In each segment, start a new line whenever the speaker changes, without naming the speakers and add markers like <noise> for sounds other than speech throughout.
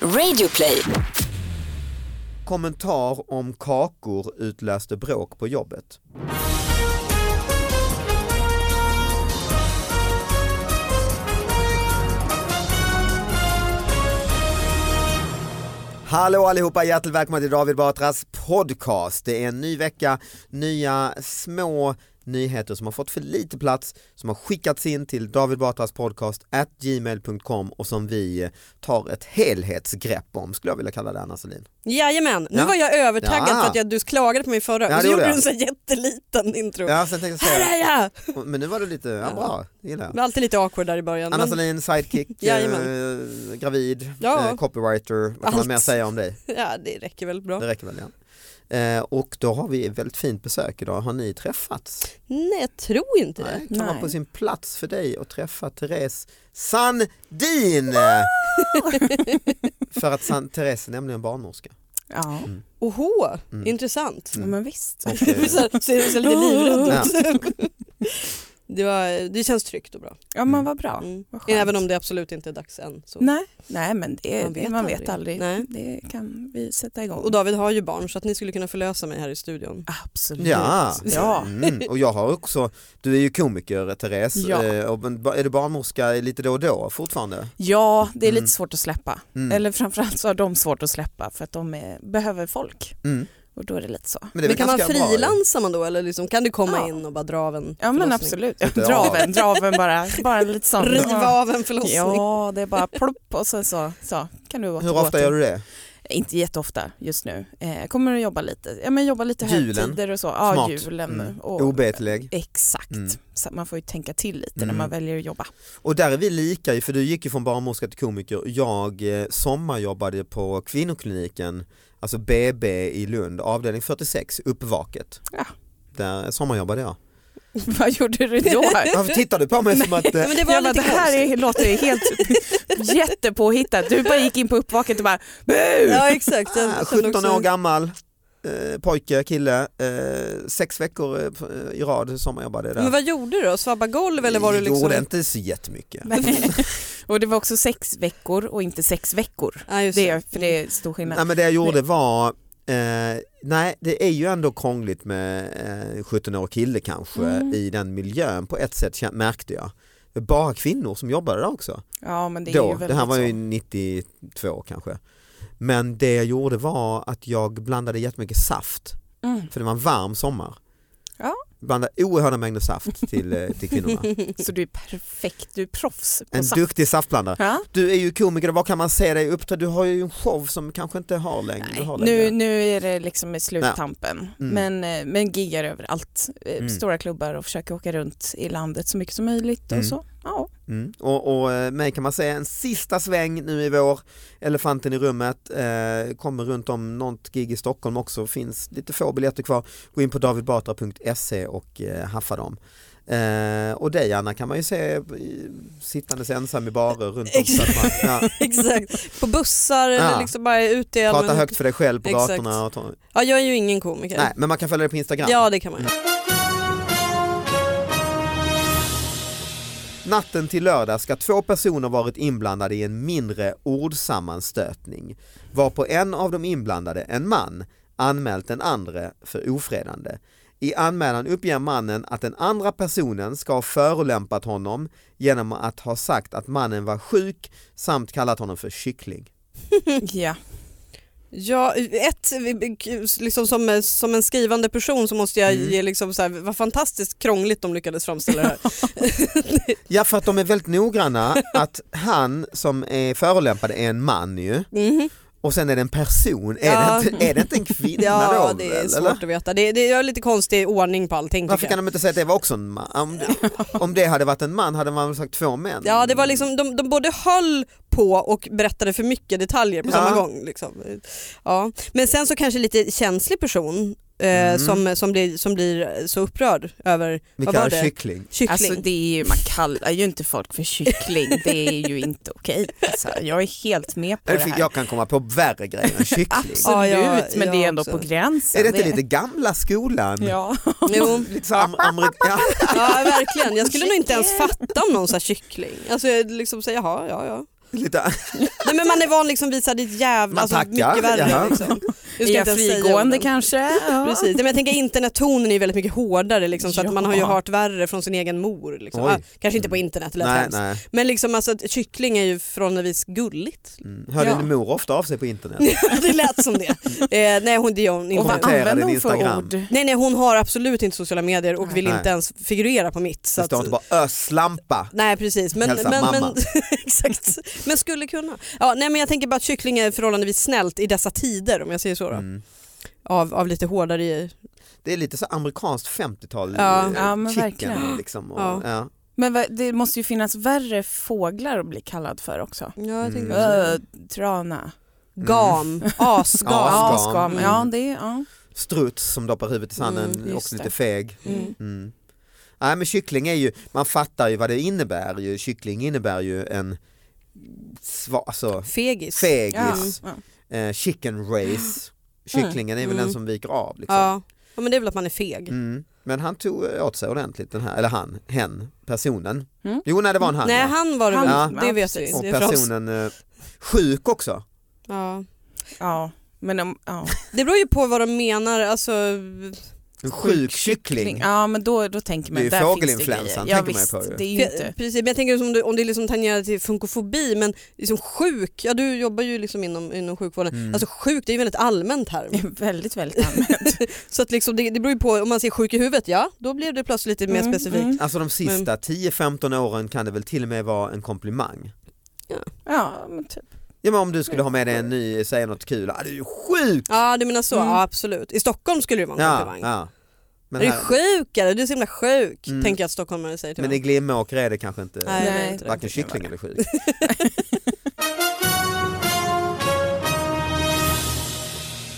Radioplay.
Kommentar om kakor utlöste bråk på jobbet. Hallå allihopa, hjärtligt välkomna till David Batras podcast. Det är en ny vecka, nya små nyheter som har fått för lite plats, som har skickats in till David Batras podcast at gmail.com och som vi tar ett helhetsgrepp om, skulle jag vilja kalla det Anna Selin.
Jajamän, nu
Ja.
var jag övertaggad
Ja.
för att jag, du klagade på mig förra
Ja, det
och så
gjorde
gjorde du
jag.
en sån här jätteliten intro.
Ja, sen tänkte jag säga,
Här är jag!
men nu var det lite, ja, bra, det gillar jag.
Det var alltid lite awkward där i början.
Anna
men,
Sahlin, sidekick,
<laughs> Jajamän.
eh, gravid,
Ja.
eh, copywriter, vad kan man
Allt.
mer säga om dig?
ja, det räcker väl bra.
Det räcker väl ja. Eh, och då har vi ett väldigt fint besök idag. Har ni träffats?
Nej, jag tror inte det.
Nej, kan vara
Nej.
på sin plats för dig att träffa Therese
<laughs>
Sandin. för att San- Therese är nämligen barnmorska.
Ja,
Oho,
Mm.
intressant.
Mm.
men visst.
Och, eh,
<laughs> så här, ser du så här lite livrädd ut. det, var, det känns tryggt och bra.
Ja,
Mm.
men vad bra.
Mm.
Vad skönt.
Även om det absolut inte är dags än. Så.
Nej, nej men det,
Man
man
vet
vet, man
aldrig.
vet aldrig.
Nej.
Det kan vi sätta igång.
Och David har ju barn så att ni skulle kunna förlösa mig här i studion.
Absolut.
Ja.
ja.
Mm, och jag har också, du är ju komiker Therese,
Ja.
eh, och men- är du barnmorska lite då och då fortfarande?
Ja, det är
Mm.
lite svårt att släppa.
Mm.
Eller framförallt så har de svårt att släppa för att de är, behöver folk.
Mm.
Och då är det lite så.
Men, det är
Men
väl
kan man
ganska bra, eller?
frilansa man då eller liksom, kan du komma
Ja.
in och bara dra av en
Ja men
förlossning?
absolut.
Sitter av.
draven, draven bara. Bara
<laughs>
lite sån.
Riva av en förlossning.
Ja, det är bara plopp och sen så, så kan du återgå
Hur ofta
till-
gör du det?
Inte jätteofta just nu. Eh, kommer att jobba lite, ja, men jobba lite
Julen.
högtider och så. Ja,
Smart.
julen.
Mm.
Och,
OB-tillägg.
Exakt,
Mm.
så att man får ju tänka till lite
Mm.
när man väljer att jobba. <laughs>
Och där är vi lika ju, för du gick ju från barnmorska till komiker. Jag eh, sommarjobbade på kvinnokliniken, alltså BB i Lund, avdelning 46, uppvaket.
Ja.
Där sommarjobbade jag.
Vad gjorde du då?
Varför tittar du på mig som
<laughs>
att... eh,
Men det var
jag bara,
lite
det här
konstigt.
är, låter ju helt <laughs> jättepåhittat. Du bara gick in på uppvaket och bara bu!
Ja exakt. Jag
ah,
kände
17
också-
år gammal, eh, pojke, kille, eh, sex veckor eh, p- eh, i rad sommarjobbade där.
Men vad gjorde du då? Svabba golv eller var du liksom?
Gjorde inte så jättemycket.
Nej. <laughs> och det var också sex veckor och inte sex veckor.
Ja, Ah, just
Det, är- för det är stor skillnad.
Nej men det jag gjorde var Eh, nej det är ju ändå krångligt med eh, 17 år kille kanske
Mm.
i den miljön på ett sätt kä- märkte jag. Det var Bara kvinnor som jobbade där också.
Ja, men det är ju
Då,
väldigt
det här var ju
så.
92 kanske. Men det jag gjorde var att jag blandade jättemycket saft
Mm.
för det var en varm sommar.
Ja.
Blandade oerhörda mängder saft till, eh, till
<laughs>
kvinnorna.
Så du är perfekt, du är proffs på
En
saft.
duktig saftblandare.
Ja?
Du är ju komiker, vad kan man säga dig uppträda? Du har ju en show som kanske inte har längre. Du har längre.
Nu, nu är det liksom i sluttampen,
Mm.
men, eh, men giggar överallt. Eh,
Mm.
Stora klubbar och försöker åka runt i landet så mycket som möjligt
Mm.
och så.
<laughs>
Ja.
Mm. Och, och eh, mig kan man säga en sista sväng nu i vår, Elefanten i rummet, eh, kommer runt om något gig i Stockholm också, finns lite få biljetter kvar. Gå in på davidbatra.se och eh, haffa dem. Eh, och dig Anna kan man ju se eh, sittandes ensam i barer runt om. så att
<laughs>
man- Ja,
<laughs> Exakt. På bussar
Ja.
eller liksom bara ute i
Ah. prata
allmän-
högt för dig själv på
Exakt.
gatorna. Och ta...
Ja jag är ju ingen komiker.
Nej, Mm. men man kan följa dig på Instagram.
Ja det kan man ju.
Natten till lördag ska två personer varit inblandade i en mindre ordsammanstötning varpå en av de inblandade, en man, anmält den andra för ofredande. I anmälan uppger mannen att den andra personen ska ha förolämpat honom genom att ha sagt att mannen var sjuk samt kallat honom för kyckling.
ja.
Ja, ett, liksom som, som en skrivande person så måste jag
Mm.
ge liksom så här, vad fantastiskt krångligt de lyckades framställa
<laughs>
det här.
Ja, för att de är väldigt
<laughs>
noggranna att han som är förolämpad är en man ju
Mhm.
och sen är det en person. Är,
Ja.
det, inte, är det inte en kvinna
<laughs> Ja
då?
det är
väl,
svårt att veta. Det, det är lite konstig ordning på allting
Varför
tycker
kan
jag.
de inte säga att det var också en man? Om
<laughs>
det, om det hade varit en man hade man väl sagt två män?
Ja det var liksom, de, de både höll på och berättade för mycket detaljer på
Ja.
samma gång. Liksom. Ja. Men sen så kanske lite känslig person eh,
Mm.
som, som, blir, som blir så upprörd över
Vi
vad var
kallar
det?
kyckling.
kyckling.
Alltså det är ju, man kallar ju inte folk för kyckling, det är ju inte okej. Alltså, jag är helt med på det här.
Jag kan komma på värre grejer än
<laughs>
kyckling.
Absolut,
Ja, ja,
men det
jag
är ändå
också.
på gränsen.
är det inte lite gamla skolan?
Ja.
Jo.
Lite så am- amerik- ja. <laughs>
Ja verkligen, jag skulle nog inte ens fatta om någon sa kyckling. Alltså jag liksom säger jaha, ja ja.
Lite,
Nej, men man är van liksom vid så här, ditt jävla,
Man
alltså,
tackar,
mycket
jaha.
värre.
<laughs>
Liksom.
Är
ska
jag
inte ens säga
frigående
orden.
kanske? Ja.
Precis. Nej, men jag tänker internettonen är väldigt mycket hårdare liksom, så
Ja.
att man har ju hört värre från sin egen mor. Liksom.
Oj.
Ah, kanske inte på internet, det lät
nej,
hemskt.
nej.
Men liksom, alltså, att kyckling är ju förhållandevis gulligt. <laughs>
Mm. Hör
Ja.
din mor ofta av sig på internet?
det lät som det. Eh, nej, hon, det gör hon
Och
inte.
vad-
vad
Kommentera
använder
din
hon för
Instagram.
ord?
Nej, nej, hon har absolut inte sociala medier och vill
Nej.
inte ens figurera på mitt. Så
Det
att,
står inte bara öslampa.
Nej precis, men,
Hälsa
men,
mamma.
men, <laughs> exakt. men skulle kunna. Ja, nej, men jag tänker bara att kyckling är förhållandevis snällt i dessa tider om jag säger så. Då.
Mm.
Av, av lite hårdare...
Det är lite så amerikanskt 50-tal.
Ja.
eh,
Ja, men
chicken,
verkligen.
Liksom, och, ja.
Ja.
Men vad- det måste ju finnas värre fåglar att bli kallad för också.
Ja, jag
tänker Mm. också
Ö, trana.
Gam, asgam.
Ja,
Ja,
skam.
skam. Ja,
Mm.
det är, ja.
Struts som doppar huvudet i sanden,
Mm,
just
också lite
det.
feg.
Mm.
Mm. Nej men kyckling är ju, man fattar ju vad det innebär ju. Kyckling innebär ju en sva, alltså,
Fegis.
Ja.
fegis,
Ja.
eh, chicken race. Kycklingen är väl
Mm.
den som viker av. Liksom.
Ja. ja, men det är väl att man är feg.
Mm. Men han tog åt sig ordentligt den här, eller han, hen, personen.
Mm.
Jo nej det var en han.
Nej,
ja.
han var det väl.
Han-
Det
ja,
vet vi.
precis.
Och
Det är för oss.
personen eh, sjuk också.
Ja.
ja, men om,
<laughs>
ja.
Det beror ju på vad de menar. Alltså,
En sjuk kyckling.
Ja, men då, då tänker man
Det är ju
där finns det
fågelinfluensan,
grejer. Ja,
tänker man ju
visst,
på ju.
det är ju inte.
precis, men jag tänker om det, om det liksom tangerar till funkofobi men liksom sjuk, ja du jobbar ju liksom inom, inom sjukvården.
Mm.
Alltså sjuk det är ju en väldigt allmän term.
Väldigt,
<laughs>
väldigt allmänt.
Så att liksom, det, det beror ju på om man säger sjuk i huvudet, ja då blir det plötsligt lite mer
Mm,
specifikt.
mm.
Alltså de sista 10-15 åren kan det väl till och med vara en komplimang.
Ja, men typ.
Ja men om du skulle ha med dig en ny, säga något kul, ah, du är ju sjuk!
Ja du menar så,
Mm.
ja absolut. I Stockholm skulle det vara en komplimang.
ja. Men,
Är du
här-
sjuk eller? Du är så himla sjuk
Mm.
tänker jag att stockholmare säger till
men i
varandra.
Glimåker är det kanske inte
Nej, det är
Nej.
inte det.
varken kyckling eller sjuk.
<laughs>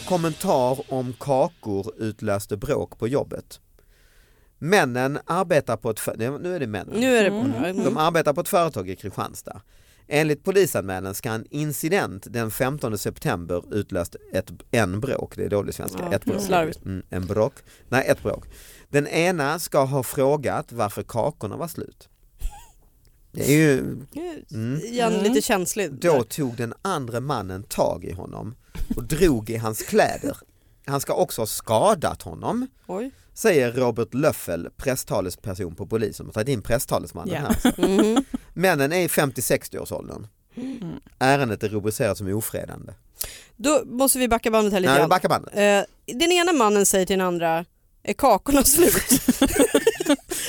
Kommentar om kakor utlöste bråk på jobbet. Männen arbetar på ett, för- nu nu är det männen.
Nu är det
Mm.
bra.
De arbetar på ett företag i Kristianstad. Enligt polisanmälan ska en incident den 15 september utlöst ett, en bråk, det är dålig svenska,
Ja,
ett bråk.
slarvigt.
Mm, en bråk, nej ett bråk. Den ena ska ha frågat varför kakorna var slut. Det är ju, Mm.
Igen
Mm.
lite känslig.
då tog den andra mannen tag i honom och drog i hans kläder. Han ska också ha skadat honom,
Oj.
säger Robert Löffel, presstalesperson på polisen. De har tagit in presstalesmannen
Ja.
här.
Mhm.
Männen är i 50-60-årsåldern.
Mm.
Ärendet är rubricerat som ofredande.
Då måste vi backa bandet här lite
Nej,
grann.
backa bandet.
Eh, den ena mannen säger till den andra, är kakorna
<laughs>
slut?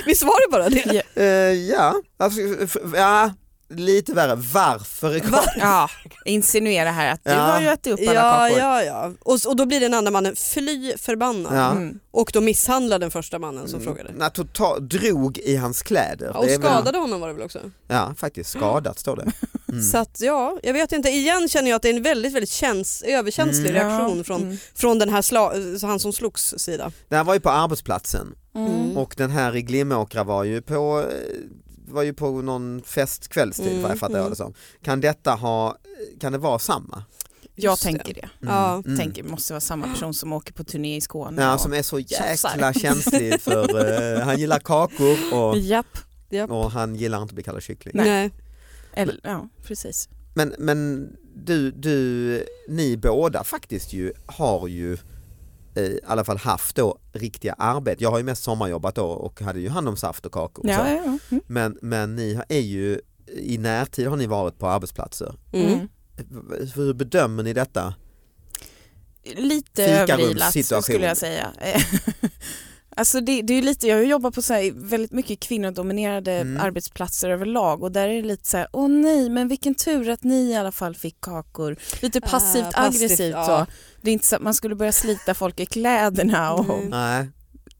Visst var det bara det?
Ja.
Eh, ja. Alltså, f- ja, lite värre. Varför är kvar?
Ja, insinuera här att du
Ja.
har ju ätit upp alla
Ja,
kakor.
ja, ja. Och, och då blir den andra mannen fly förbannad
Ja.
Mm.
och då misshandlar den första mannen som frågade.
Nej, Mm, total, drog i hans kläder.
Ja, och
Det är väl-
skadade honom var det väl också.
Mm.
Ja, faktiskt. Skadat står det. Mm.
<laughs> Så att ja, jag vet inte. Igen känner jag att det är en väldigt, väldigt käns överkänslig
Mm.
reaktion
Ja.
från,
Mm.
från den här sla- han som slogs sida.
Det här var ju på arbetsplatsen
Mm.
och den här i Glimåkra var ju på eh, var ju på någon fest kvällstid
Mm,
vad jag fattar jag
mm.
det som. Kan detta ha, kan det vara samma?
Jag
Just det.
tänker det.
Ja.
Mm.
Tänker måste vara samma person som åker på turné i Skåne.
Ja,
och-
som är så
tjafsar.
jäkla känslig för
<laughs>
eh, han gillar kakor och
Japp.
Och han gillar inte att bli kallad kyckling.
Nej.
Nej.
Eller, ja, precis.
Men, men du, du, ni båda faktiskt ju har ju eh, i alla fall haft då riktiga arbete. Jag har ju mest sommarjobbat då och hade ju hand om saft och kakor. och så.
Ja, ja, ja. Mm.
Men, men ni har- är ju i närtid har ni varit på arbetsplatser.
Mm.
Mm.
V- Hur bedömer ni detta?
Lite
Fikarumssituation.
överilat skulle jag säga. Eh, <laughs> alltså det, det är ju lite, jag har ju jobbat på så här, väldigt mycket kvinnodominerade
Mm.
arbetsplatser överlag och där är det lite så här, åh nej men vilken tur att ni i alla fall fick kakor. Lite
Ah,
passivt
passivt,
aggressivt
ja.
så. Det är inte så att man skulle börja slita folk i kläderna och
Mm.
Nej,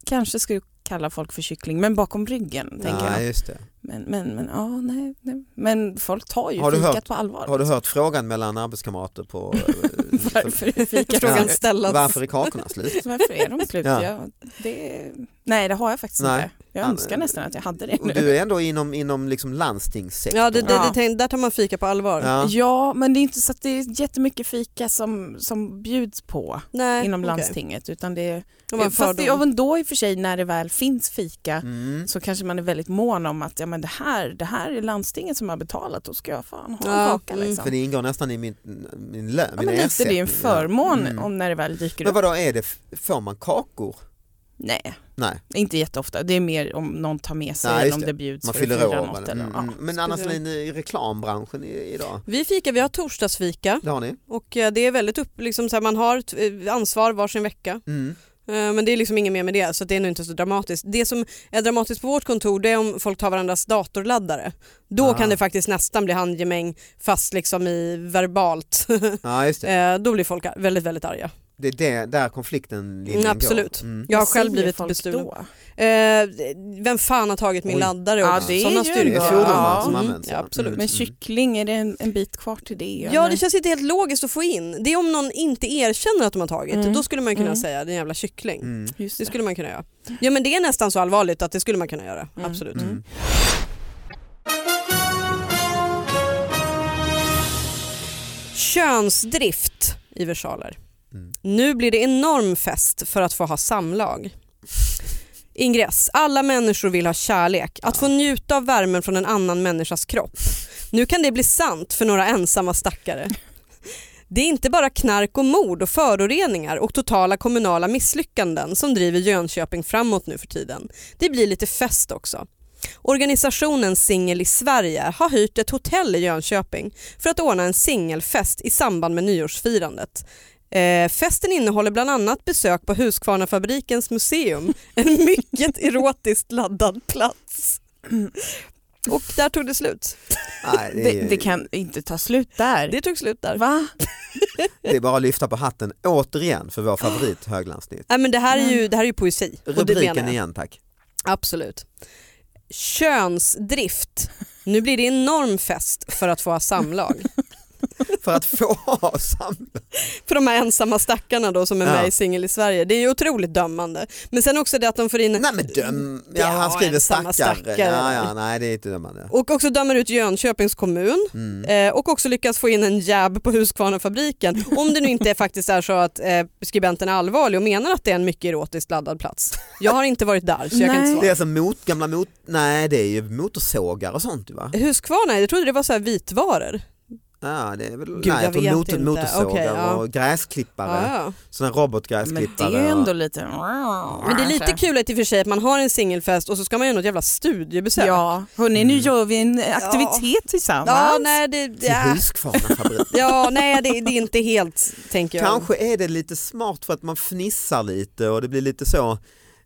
kanske skulle kalla folk för kyckling men bakom ryggen tänker jag.
nej just det.
Men, men, men, ja, nej, nej. men folk tar ju
Har du
fikat
hört-
på allvar.
Har du hört frågan mellan arbetskamrater på eh,
<laughs> Varför är fikat
Frågan
Ja.
ställas.
varför är kakorna slut?
Varför är de slut?
Ja.
Ja. det... Nej det har jag faktiskt
Nej.
inte. Jag önskar nästan att jag hade <laughs> det
Och
nu.
du är ändå inom, inom liksom landstingssektorn.
Ja, det, det,
Ja.
det, tänk- där tar man fika på allvar.
Ja.
Ja, men det är inte så att det är jättemycket fika som, som bjuds på
Nej,
inom
okej.
landstinget. Utan det är,
Det var en
fast det,
fördom.
även då i och för sig när det väl finns fika
Mm.
så kanske man är väldigt mån om att ja, men det, här, det här är landstinget som har betalat, då ska jag fan ha en
Ja,
kaka.
mm.
Liksom.
För det ingår nästan i min, min lön,
ja,
min
men lite, det är ju en
ersättning, ja.
förmån
Mm.
om när det väl dyker
Men
upp.
vadå, är det, f- får man kakor?
Nej,
Nej,
inte jätteofta. Det är mer om någon tar med sig
Nej,
eller
just
om
det.
det, bjuds
man
för att
fyller
fira
år.
något.
bara.
Eller,
Mm.
ja.
mm. Men annars är ni i reklambranschen i, idag?
Vi fikar, vi har torsdagsfika
Det har ni?
och eh, det är väldigt upp, liksom, så här, man har ett eh, ansvar varsin vecka.
Mm.
Eh, Men det är liksom inget mer med det så att det är nog inte så dramatiskt. Det som är dramatiskt på vårt kontor det är om folk tar varandras datorladdare. Då
Ah.
kan det faktiskt nästan bli handgemäng fast liksom i verbalt. <laughs>
Ja, just det.
Eh, Då blir folk ar- väldigt väldigt arga.
Det är det, där konflikten linjen
Mm, absolut.
går. Mm.
Jag har
Vad
själv
säger
blivit
folk
bestulen.
då?
Eh, Vem fan har tagit min
Oj.
laddare?
Ja,
Och
det är
sådana
ju alltså
Det
styr-
är
ändå-
fordonen
Ja.
som
Mm,
används.
ja, absolut.
Mm.
Men kyckling, är det en, en bit kvar till det?
Ja
eller?
det känns inte helt logiskt att få in. Det är om någon inte erkänner att de har tagit.
Mm.
Då skulle man kunna
Mm.
säga den jävla kyckling.
Mm.
Just
Det
det.
skulle man kunna göra. Ja men det är nästan så allvarligt att det skulle man kunna göra.
Mm.
Absolut.
Mm.
Mm.
Könsdrift i versaler.
Mm.
Nu blir det enorm fest för att få ha samlag. Ingress. Alla människor vill ha kärlek. Att få njuta av värmen från en annan människas kropp. Nu kan det bli sant för några ensamma stackare. Det är inte bara knark och mord och föroreningar och totala kommunala misslyckanden som driver Jönköping framåt nu för tiden. Det blir lite fest också. Organisationen Singel i Sverige har hyrt ett hotell i Jönköping för att ordna en singelfest i samband med nyårsfirandet. Eh, festen innehåller bland annat besök på Huskvarnafabrikens museum, en <laughs> mycket erotiskt laddad plats. Och där tog det slut.
Nej, det,
Det,
är-
det kan inte ta slut där.
Det tog slut där.
Va?
det är bara att lyfta på hatten återigen för vår
<gasps>
favorit höglandsnytt.
Nej, men det, här är ju, det här är ju poesi. och
Mm.
det menar
Rubriken
jag.
igen tack.
Absolut. Könsdrift. Nu blir det enorm fest för att få
<laughs>
ha samlag.
För att få ha samlag.
För de här ensamma stackarna då som är med
Ja.
i Singel i Sverige. Det är ju otroligt dömande. Men sen också det att de får in
Nej men döm, ja,
Ja,
han skriver
ensamma
stackare.
stackare.
Ja, ja, nej det är inte dömande.
och också dömer ut Jönköpings kommun
Mm.
eh, och också lyckas få in en jab på Huskvarnafabriken. Om det nu inte är faktiskt är så att eh, skribenten är allvarlig och menar att det är en mycket erotiskt laddad plats. Jag har inte varit där så jag kan
Nej.
inte svara.
Det är som mot, gamla mot, nej det är ju motorsågar och sånt va?
Huskvarna, jag trodde det var så här vitvaror.
Ja, det är väl,
Gud,
nej,
jag
jag tror
vet
motor,
inte.
motorsågar
Okej, ja.
och gräsklippare,
Ja, ja.
sådana
Men det
robotgräsklippare.
är ju ändå
och-
lite...
Men det är lite kul i och för sig att man har en singelfest och så ska man göra något jävla studiebesök.
Ja, hörni nu
Mm.
gör vi en aktivitet tillsammans.
ja nej det...
Till
Ja.
Husqvarnafabrik.
<laughs> Ja, nej det, det är inte helt tänker jag.
Kanske är det lite smart för att man fnissar lite och det blir lite så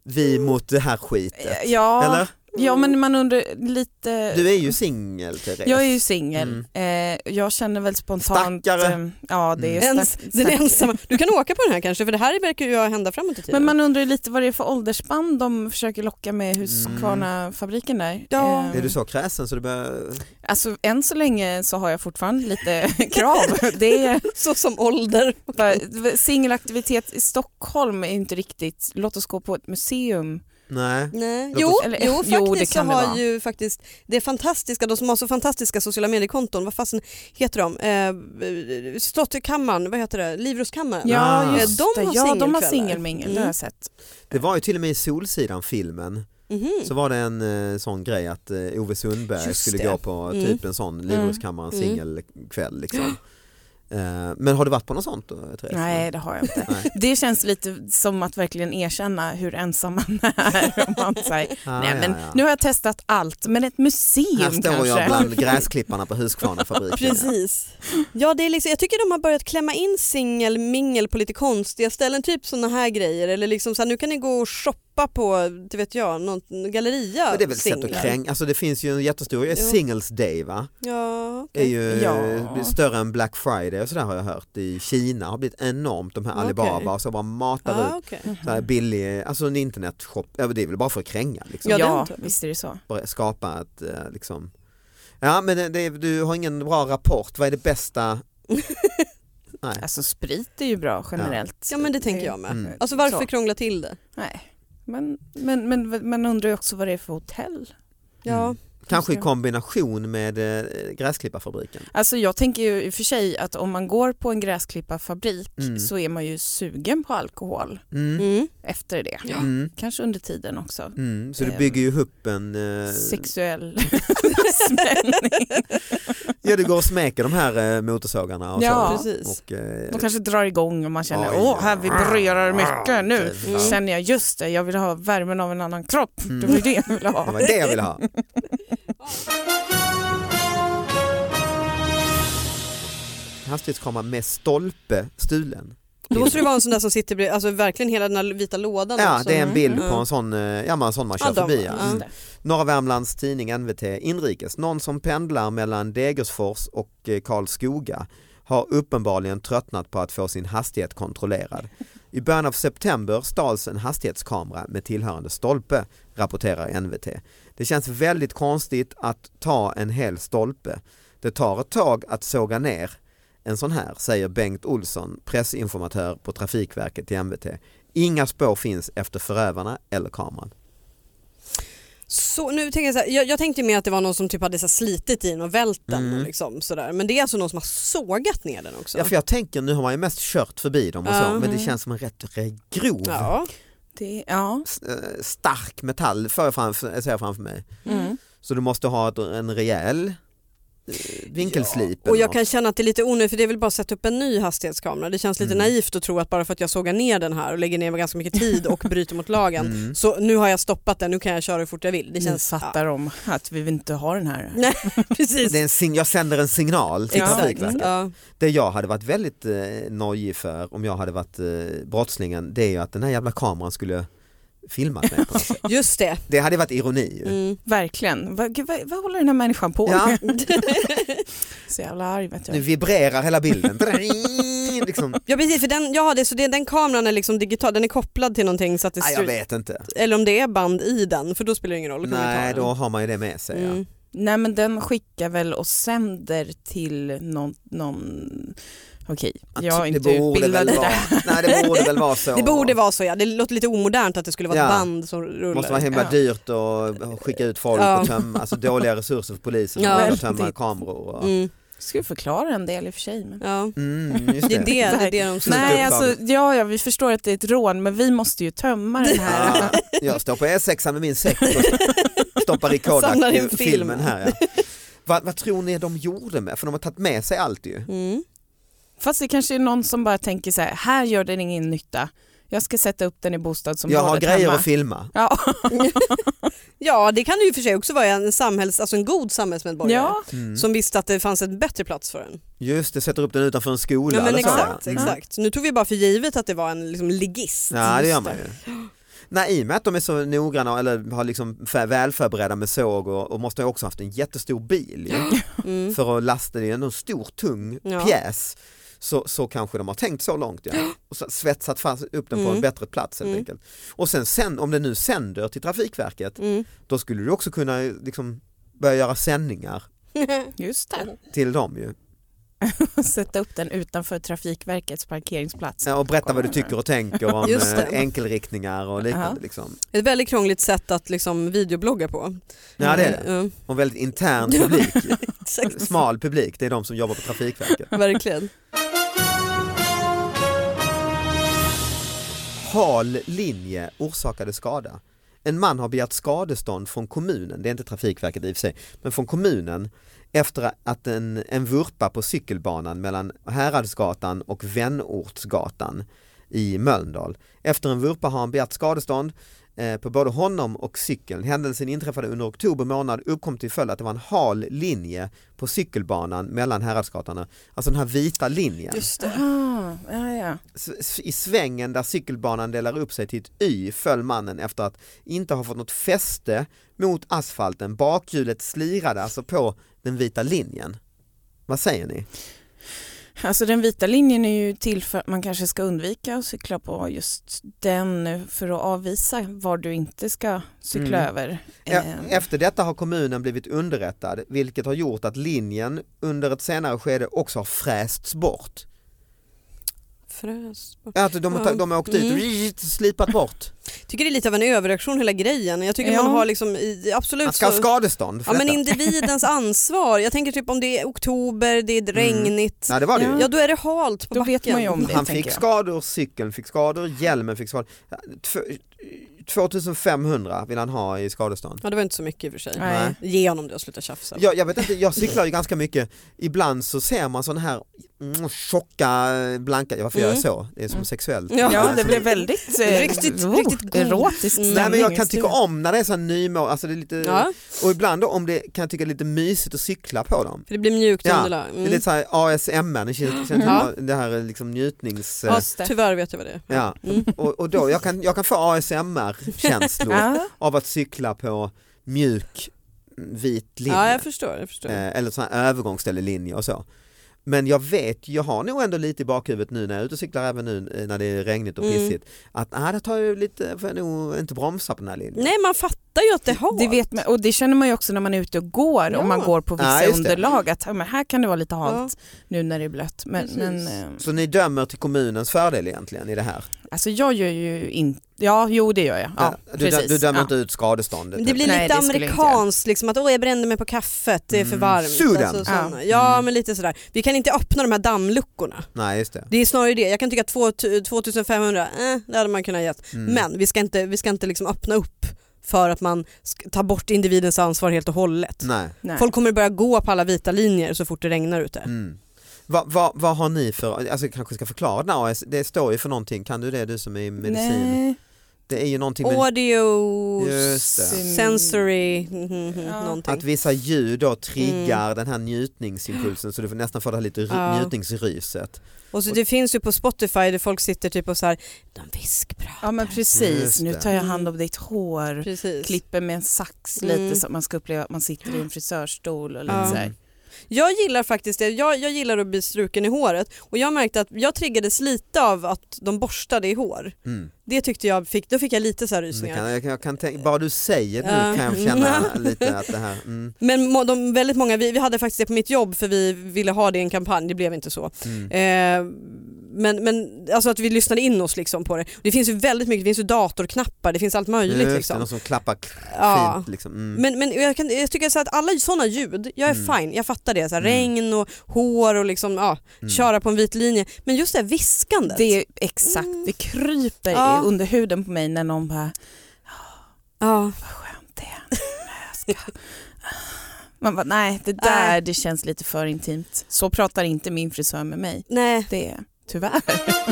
vi mot det här skitet.
Ja,
Eller?
ja men man undrar lite...
Du är ju singel Therese.
jag är ju singel. Eh, jag känner väl spontant...
Stackare.
eh, Ja, det är
Mm.
Ens,
stack-
den
stack-
ensamma. Du kan åka på den här kanske för det här verkar ju hända framåt i tiden.
Men man undrar ju lite vad det är för åldersspann de försöker locka med Husqvarna-fabriken där.
Ja.
Eh,
Mm. Är du så kräsen så du börjar...
Alltså än så länge så har jag fortfarande lite <laughs> krav. Det är
Så som ålder.
bara- singelaktivitet i Stockholm är inte riktigt, låt oss gå på ett museum.
Nej.
Nej.
Låt
Jo,
oss-
Eller-
jo,
<laughs> jo,
faktiskt
det
så
kan det
har
vara.
ju faktiskt det fantastiska, de som har så fantastiska sociala mediekonton, vad fasen heter de? Eh, Slotterkammaren, vad heter det? Livrustkammaren.
Ja,
Ja,
Ah.
just
Eh, de
det.
har
ja, de har Mm.
singelkvällar.
singelmingel, det har jag sett.
Det var ju till och med i Solsidan filmen
Mm.
Mhm.
så var det en eh, sån grej att eh, Ove Sundberg
Just
skulle
det.
gå på
Mm.
typ en sån Livrustkammaren
Mm.
singelkväll liksom. Eh, Men har du varit på något sånt då Therese?
Nej, det har jag <laughs> inte.
Nej.
Det känns lite som att verkligen erkänna hur ensam man är. Om man säger,
Ah,
nej, men
ja, ja.
Nu har jag testat allt, men ett
Här
museum
står
kanske.
jag bland
<laughs>
gräsklipparna på Husqvarnafabriken.
Precis. Ja, det är liksom, jag tycker de har börjat klämma in singelmingel på lite konstiga ställen, typ sådana här grejer. Eller liksom så här, nu kan ni gå och shoppa på, det vet jag, något galleria
Men det är väl ett sätt att
singlar.
kränga, alltså det finns ju en jättestor,
Jo.
Singles Day va?
Ja,
Det är
okej.
ju
Eh, Ja.
större än Black Friday och sådär har jag hört i Kina har blivit enormt de här
Okej.
Alibaba och så bara matar
ah,
ut
okej.
så här billig, alltså en internetshop, Ja, men det är väl bara för att kränga liksom,
Ja,
Ja,
det antar jag.
visst är det så.
bara skapa ett eh, liksom Ja men det, det, du har ingen bra rapport, vad är det bästa? Nej.
Alltså sprit är ju bra generellt.
Ja men det tänker jag med.
Mm.
Alltså varför
Så.
krångla till det?
Nej. Men, men, men, men undrar ju också vad det är för hotell.
Ja.
Mm. Kanske i
det.
kombination med eh, gräsklipparfabriken.
Alltså jag tänker ju i och för sig att om man går på en gräsklipparfabrik
Mm.
så är man ju sugen på alkohol
Mm.
Mm.
efter det.
Mm.
Kanske under tiden också.
Mm. Så du
Eh,
bygger ju upp en... eh,
Sexuell spänning.
Ja du går och smeker de här eh, motorsågarna och
Ja.
så.
Precis.
Och, eh,
De kanske drar igång och man känner
Oj. typ.
åh här vibrerar det mycket nu.
Jävlar.
Mm.
Känner jag just det, jag vill ha värmen av en annan kropp.
Mm.
Det var ju det jag ville
Det var
ha.
det jag ville ha. Hastigt komma med stolpe stulen.
Då måste det vara en sån där som sitter bredvid, alltså verkligen hela den här vita lådan
Ja,
också.
det är en bild
Mm.
på en sån, eh, ja, men en sån man kör
Ja, de-
förbi. Ja.
ja.
Mm. Norra Värmlands tidning NVT inrikes. Någon som pendlar mellan Degerfors och eh, Karlskoga har uppenbarligen tröttnat på att få sin hastighet kontrollerad. I början av september stals en hastighetskamera med tillhörande stolpe, rapporterar NVT. Det känns väldigt konstigt att ta en hel stolpe. Det tar ett tag att såga ner en sån här, säger Bengt Olsson, pressinformatör på Trafikverket till NVT. Inga spår finns efter förövarna eller kameran.
Så, nu tänker jag, så här, jag, jag tänkte mer att det var någon som typ hade så här slitit i den och vält den.
Mm.
Liksom, sådär. Men det är alltså någon som har sågat ner den också.
Ja, för jag tänker nu har man ju mest kört förbi dem och så,
Ja. Mm.
men det känns som en rätt re- grov
Ja.
Det, ja.
s- eh, stark metall för jag framför, ser jag framför mig.
Mm.
Så du måste ha ett, en rejäl eh, vinkelslip.
Och
eller
jag
något.
kan känna att det är lite onödigt för det är väl bara att sätta upp en ny hastighetskamera. Det känns lite
Mm.
naivt att tro att bara för att jag sågar ner den här och lägger ner ganska mycket
<laughs>
tid och bryter mot lagen
Mm.
så nu har jag stoppat den, nu kan jag köra hur fort jag vill. Det
Ni
känns, ja,
fattar om att vi vill inte ha den här.
<laughs> precis.
Det är en sign- jag sänder en signal till
Ja.
Trafikverket.
Ja.
Det jag hade varit väldigt eh, nojig för om jag hade varit eh, brottslingen det är ju att den här jävla kameran skulle filmat mig. På något sätt.
Just det.
Det hade varit ironi ju.
Mm. <laughs>
Verkligen. Vad, gud, vad, vad håller den här människan på med?
Ja,
Så jävla arg vet
nu
jag.
vibrerar hela
<laughs>
bilden. liksom.
Ja precis, för den, ja, det, så det, den kameran är liksom digital, den är kopplad till någonting så att det
Nej,
ser
jag
ut-
vet inte.
Eller om det är band i den för då spelar det ingen roll. då kan man ju ta
Nej,
den.
då har man ju det med sig. Ja.
Mm.
Nej men den skickar väl och sänder till någon, någon... okej
Att
jag är inte
det borde
utbildad i
väl
det
vara,
här.
Nej det borde väl
<laughs>
vara så.
Det borde vara så ja, det låter lite omodernt att det skulle vara ett
Ja.
band som rullar.
Det måste vara himla
Ja.
dyrt att skicka ut folk
Ja.
och tömma, alltså dåliga resurser för polisen
Ja.
och tömma
Väldigt.
kameror. Och...
mm.
Skulle förklara en del i och för sig. Men...
ja.
Mm, just
Det
det.
är det, det, är det de
Snyggt
Nej
uppslag.
alltså, ja, ja vi förstår att det är ett rån men vi måste ju tömma den här.
Ja, jag står på E6 med min säck och stoppar i
Samlar in
Kodak-filmen
filmen.
här. Ja. Vad, vad tror ni de gjorde med, för de har tagit med sig allt ju.
Mm.
<laughs> Fast det kanske är någon som bara tänker så här, här gör den ingen nytta. Jag ska sätta upp den i bostadsområdet
Jag har grejer
hemma.
att filma. <laughs>
Ja,
Ja det kan ju i och för sig också vara en, samhälls, alltså en god samhällsmedborgare
ja.
Mm.
som visste att det fanns en bättre plats för en.
Just det, sätter upp den utanför en skola.
Ja, men
eller så.
exakt,
Mm.
exakt. Nu tog vi bara för givet att det var en liksom, ligist.
Ja det gör man ju. Nej, I och med att de är så noggranna eller har liksom fä- väl förberedda med såg och, och måste ha också haft en jättestor bil ju,
Mm.
för att lasta det är ändå en stor tung
Ja.
pjäs så, så kanske de har tänkt så långt ja. och så svetsat fast upp den på en
Mm.
bättre plats helt
Mm.
enkelt. Och sen, sen om det nu sänder till Trafikverket
Mm.
då skulle du också kunna eh, liksom, börja göra sändningar
just det. <laughs>
till dem ju
Sätta upp den utanför Trafikverkets parkeringsplats.
Ja, och berätta vad du tycker och tänker om
Just det.
eh, enkelriktningar och liknande.
Aha.
Liksom.
Ett väldigt krångligt sätt att liksom, videoblogga på.
Ja det är det,
Mm.
och en väldigt intern publik. ju.
Exakt.
smal publik, det är de som jobbar på Trafikverket. <laughs>
Verkligen.
Hal linje orsakade skada. En man har begärt skadestånd från kommunen, det är inte Trafikverket i och för sig, men från kommunen efter att en, en vurpa på cykelbanan mellan Häradsgatan och Vänortsgatan i Mölndal. Efter en vurpa har han begärt skadestånd eh, på både honom och cykeln. Händelsen inträffade under oktober månad uppkom till följd att det var en hal linje på cykelbanan mellan Häradsgatan, alltså den här vita linjen.
Just det.
Ah, ja, ja.
S- s- I svängen där cykelbanan delar upp sig till ett Y föll mannen efter att inte ha fått något fäste mot asfalten. Bakhjulet slirade alltså på den vita linjen. Vad säger ni?
Alltså den vita linjen är ju till för att man kanske ska undvika att cykla på just den för att avvisa var du inte ska cykla
Mm.
över.
E-
Ehm,
Efter detta har kommunen blivit underrättad vilket har gjort att linjen under ett senare skede också har frästs bort.
Fräs.
Alltså de har, ta-
Ja.
de har åkt dit och
Mm.
rrrt, slipat bort.
tycker det är lite av en överreaktion hela grejen. Jag tycker
Ja.
man har liksom i, absolut
Man ska ha
så-
skadestånd
Ja
för
men
detta. <laughs>
individens ansvar. Jag tänker typ om det är oktober, det är regnigt.
Nej det var Mm. det
Ja.
ju.
Ja då är det halt på
Då
backen.
vet man ju om det.
Han
Mm, tänker
fick
jag.
skador, cykeln fick skador, hjälmen fick skador. Tv- 2500 vill han ha i skadestånd.
Ja det var inte så mycket i och för sig.
Nej.
Nej.
Ge honom det och sluta tjafsa.
Jag, jag vet inte, jag cyklar ju ganska mycket. Ibland så ser man sådana här mm, tjocka, eh, blanka, varför gör jag så? Det är som
Mm.
sexuellt.
Ja.
Ja, det blev väldigt
<laughs>
eh,
Riktigt-
oh,
riktigt god.
erotisk
Mm.
Nej men jag
stämning
kan
i
tycka
studion.
om när det är så här nymål, alltså det är lite,
Ja,
och ibland då om det kan jag tycka det är lite mysigt att cykla på dem.
för det blir mjukt
Ja,
underlag.
Det är
Mm.
lite såhär ASMR, det känns, känns
Ja.
det här liksom njutnings...
Ja,
eh,
Just det.
tyvärr vet jag vad det är.
Ja.
Mm.
Och, och då, jag kan, jag kan få ASMR-känslor
Ja.
av att cykla på mjuk vit linje.
Ja jag förstår. Jag förstår.
Eh, eller sån här övergångsställelinje och så. Men jag vet, jag har nog ändå lite i bakhuvudet nu när jag är ute och cyklar även nu eh, när det är regnigt och
Mm.
pissigt att ah, det tar ju lite, får jag nog inte bromsa på den här linjen.
Nej man fattar ju att det har.
Det vet man, och det känner man ju också när man är ute och går,
Ja.
om man går på vissa
Ja, just det.
underlag, att ja, men här kan det vara lite halt nu när det är blött. Men,
Precis.
men, eh,
Så ni dömer till kommunens fördel egentligen i det här?
alltså jag gör ju inte, ja jo det gör jag. Ja,
Eh, du, dö-
precis.
du dömer
ja.
inte ut skadeståndet?
Men det blir
Nej,
lite
det skulle jag inte
amerikanskt, liksom, att åh jag brände mig på kaffet, det är för
Mm,
varmt.
Sudan.
sådana.
Ja.
Ja
Mm.
men lite sådär. Vi kan inte öppna de här dammluckorna.
Nej just det.
Det är snarare det, jag kan tycka att 2000 2500, eh, det hade man kunnat gett.
Mm.
Men vi ska inte, vi ska inte liksom öppna upp för att man sk- tar bort individens ansvar helt och hållet.
Nej.
Nej.
Folk kommer börja gå på alla vita linjer så fort det regnar ute.
Mm. Vad, vad, vad har ni för, alltså jag kanske ska förklara den här AS, det står ju för någonting, kan du det du som är i medicin?
Nej.
Det är ju någonting med
Audio,
Just det.
sensory, mhm, mhm,
Ja.
någonting.
att vissa ljud då triggar den här njutningsimpulsen så du får nästan får det här lite ry-
Mm. Ja.
njutningsryset.
Och så det finns ju på Spotify där folk sitter typ och så här, de viskpratar.
Ja men
Just
precis, nu
det.
tar jag hand om ditt hår,
Mm. Precis.
klipper med en sax
Mm.
lite så att man ska uppleva att man sitter i en frisörstol och lite
Mm.
Ja.
så här.
Jag gillar faktiskt det. Jag, jag gillar att bli struken i håret och jag märkte att jag triggades lite av att de borstade i hår.
Mm.
Det tyckte jag fick, då fick jag lite så här
Mm, det
rysningar.
Kan, jag, kan- jag kan tänka, bara du säger nu
Ja.
kan jag
<laughs>
känna lite att det här, mm,
Men må- de, väldigt många, vi, vi hade faktiskt det på mitt jobb för vi ville ha det i en kampanj, det blev inte så.
mm.
Eh, men, men alltså att vi lyssnade in oss liksom på det. Det finns ju väldigt mycket, det finns ju datorknappar, det finns allt möjligt.
Just det,
liksom.
någon som klappar k-
Ja.
fint liksom. Mm.
Men, men jag, kan, jag tycker så här att alla sådana ljud, jag är
Mm.
fine, jag fattar det. Så här,
Mm.
Regn och hår och liksom, ja,
Mm.
köra på en vit linje. Men just det här viskandet.
Det är exakt,
Mm.
det kryper
Ja.
i under huden på mig när någon bara
ja.
skönt det är nu när jag
<laughs>
ska... Man bara, nej det där
Nej.
det känns lite för intimt. Så pratar inte min frisör med mig.
<laughs>
Nej.
Det är tyvärr. <laughs>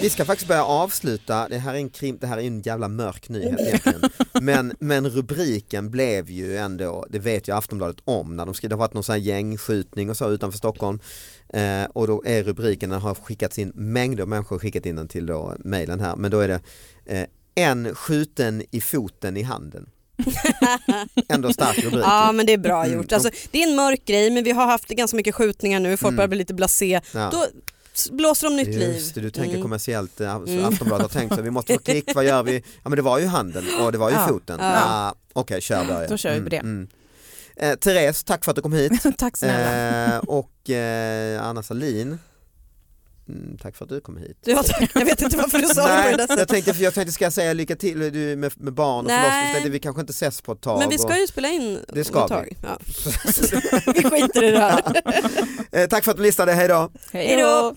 Vi ska faktiskt börja avsluta, det här är en, krim, det här är en jävla mörk nyhet egentligen. Men, men rubriken blev ju ändå, det vet ju Aftonbladet om, när de skrev, det har varit någon sån här gängskjutning och så utanför Stockholm. Eh, och då är rubriken, den har skickats in, mängder av människor har skickat in den till då mejlen här, men då är det eh, en skjuten i foten i handen. Ändå stark rubrik.
Ja men det är bra
Mm.
gjort. Alltså, det är en mörk grej men vi har haft ganska mycket skjutningar nu, folk
Mm.
börjar bli lite blasé.
Ja.
Då s- blåser de nytt
Just det, du
liv.
tänker
Mm.
kommersiellt, eh, så
Mm.
Aftonbladet har tänkt så, vi måste få klick, vad gör
<laughs>
vi? Ja men det var ju handen och det var ju
Ja.
foten.
Ja.
Ah, Okej, kör början.
Då kör vi på det.
Mm, mm. Eh, Therese, tack för att du kom
<laughs>
hit.
Tack snälla.
Eh, och eh, Anna Salin mm, tack för att du kom
<laughs>
hit.
Ja, tack. jag vet inte varför du sa det på det där
jag
sättet.
tänkte, för jag tänkte ska jag säga lycka till du, med, med barn och
Nej.
förlossning, Så tänkte jag, vi kanske inte ses på ett tag.
Men vi ska
och,
ju spela in
Det ska
om ett tag.
<laughs>
Ja. Vi skiter i det här.
<laughs> eh, tack för att du lyssnade, hej då!
Hej
Hejdå.
då!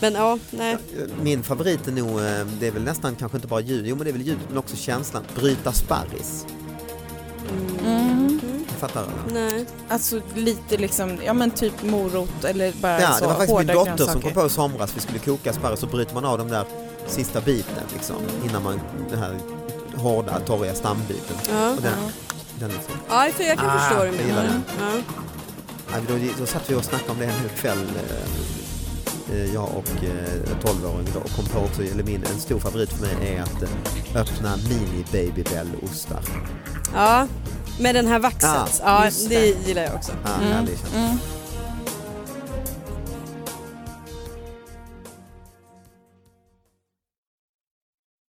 Men ja, nej.
Min favorit är nog, eh, det är väl nästan kanske inte bara ljudet, jo men det är väl ljudet men också känslan, bryta sparris.
Mm.
Jag fattar eller?
nej.
Alltså lite liksom, ja men typ morot eller bara
Ja,
så
det var faktiskt min
hårda
dotter som
grönsaker.
kom på i somras vi skulle koka sparris så bryter man av den där sista biten liksom, innan man, den här hårda torriga stambiten.
Ja.
Och den, den liksom,
Ja, för jag kan
Ah,
förstå det
jag gillar
menar.
det.
Ja.
ja, då, då satt vi och snackade om det en hel kväll, eh, eh, jag och eh, en 12-åring då, och kom på också, eller min, en stor favorit för mig är att eh, öppna mini babybell-ostar.
ja, med den här vaxet.
Ah,
ja,
just
det gillar jag också.
Ah,
Mm.
härlig känsla.
Mm.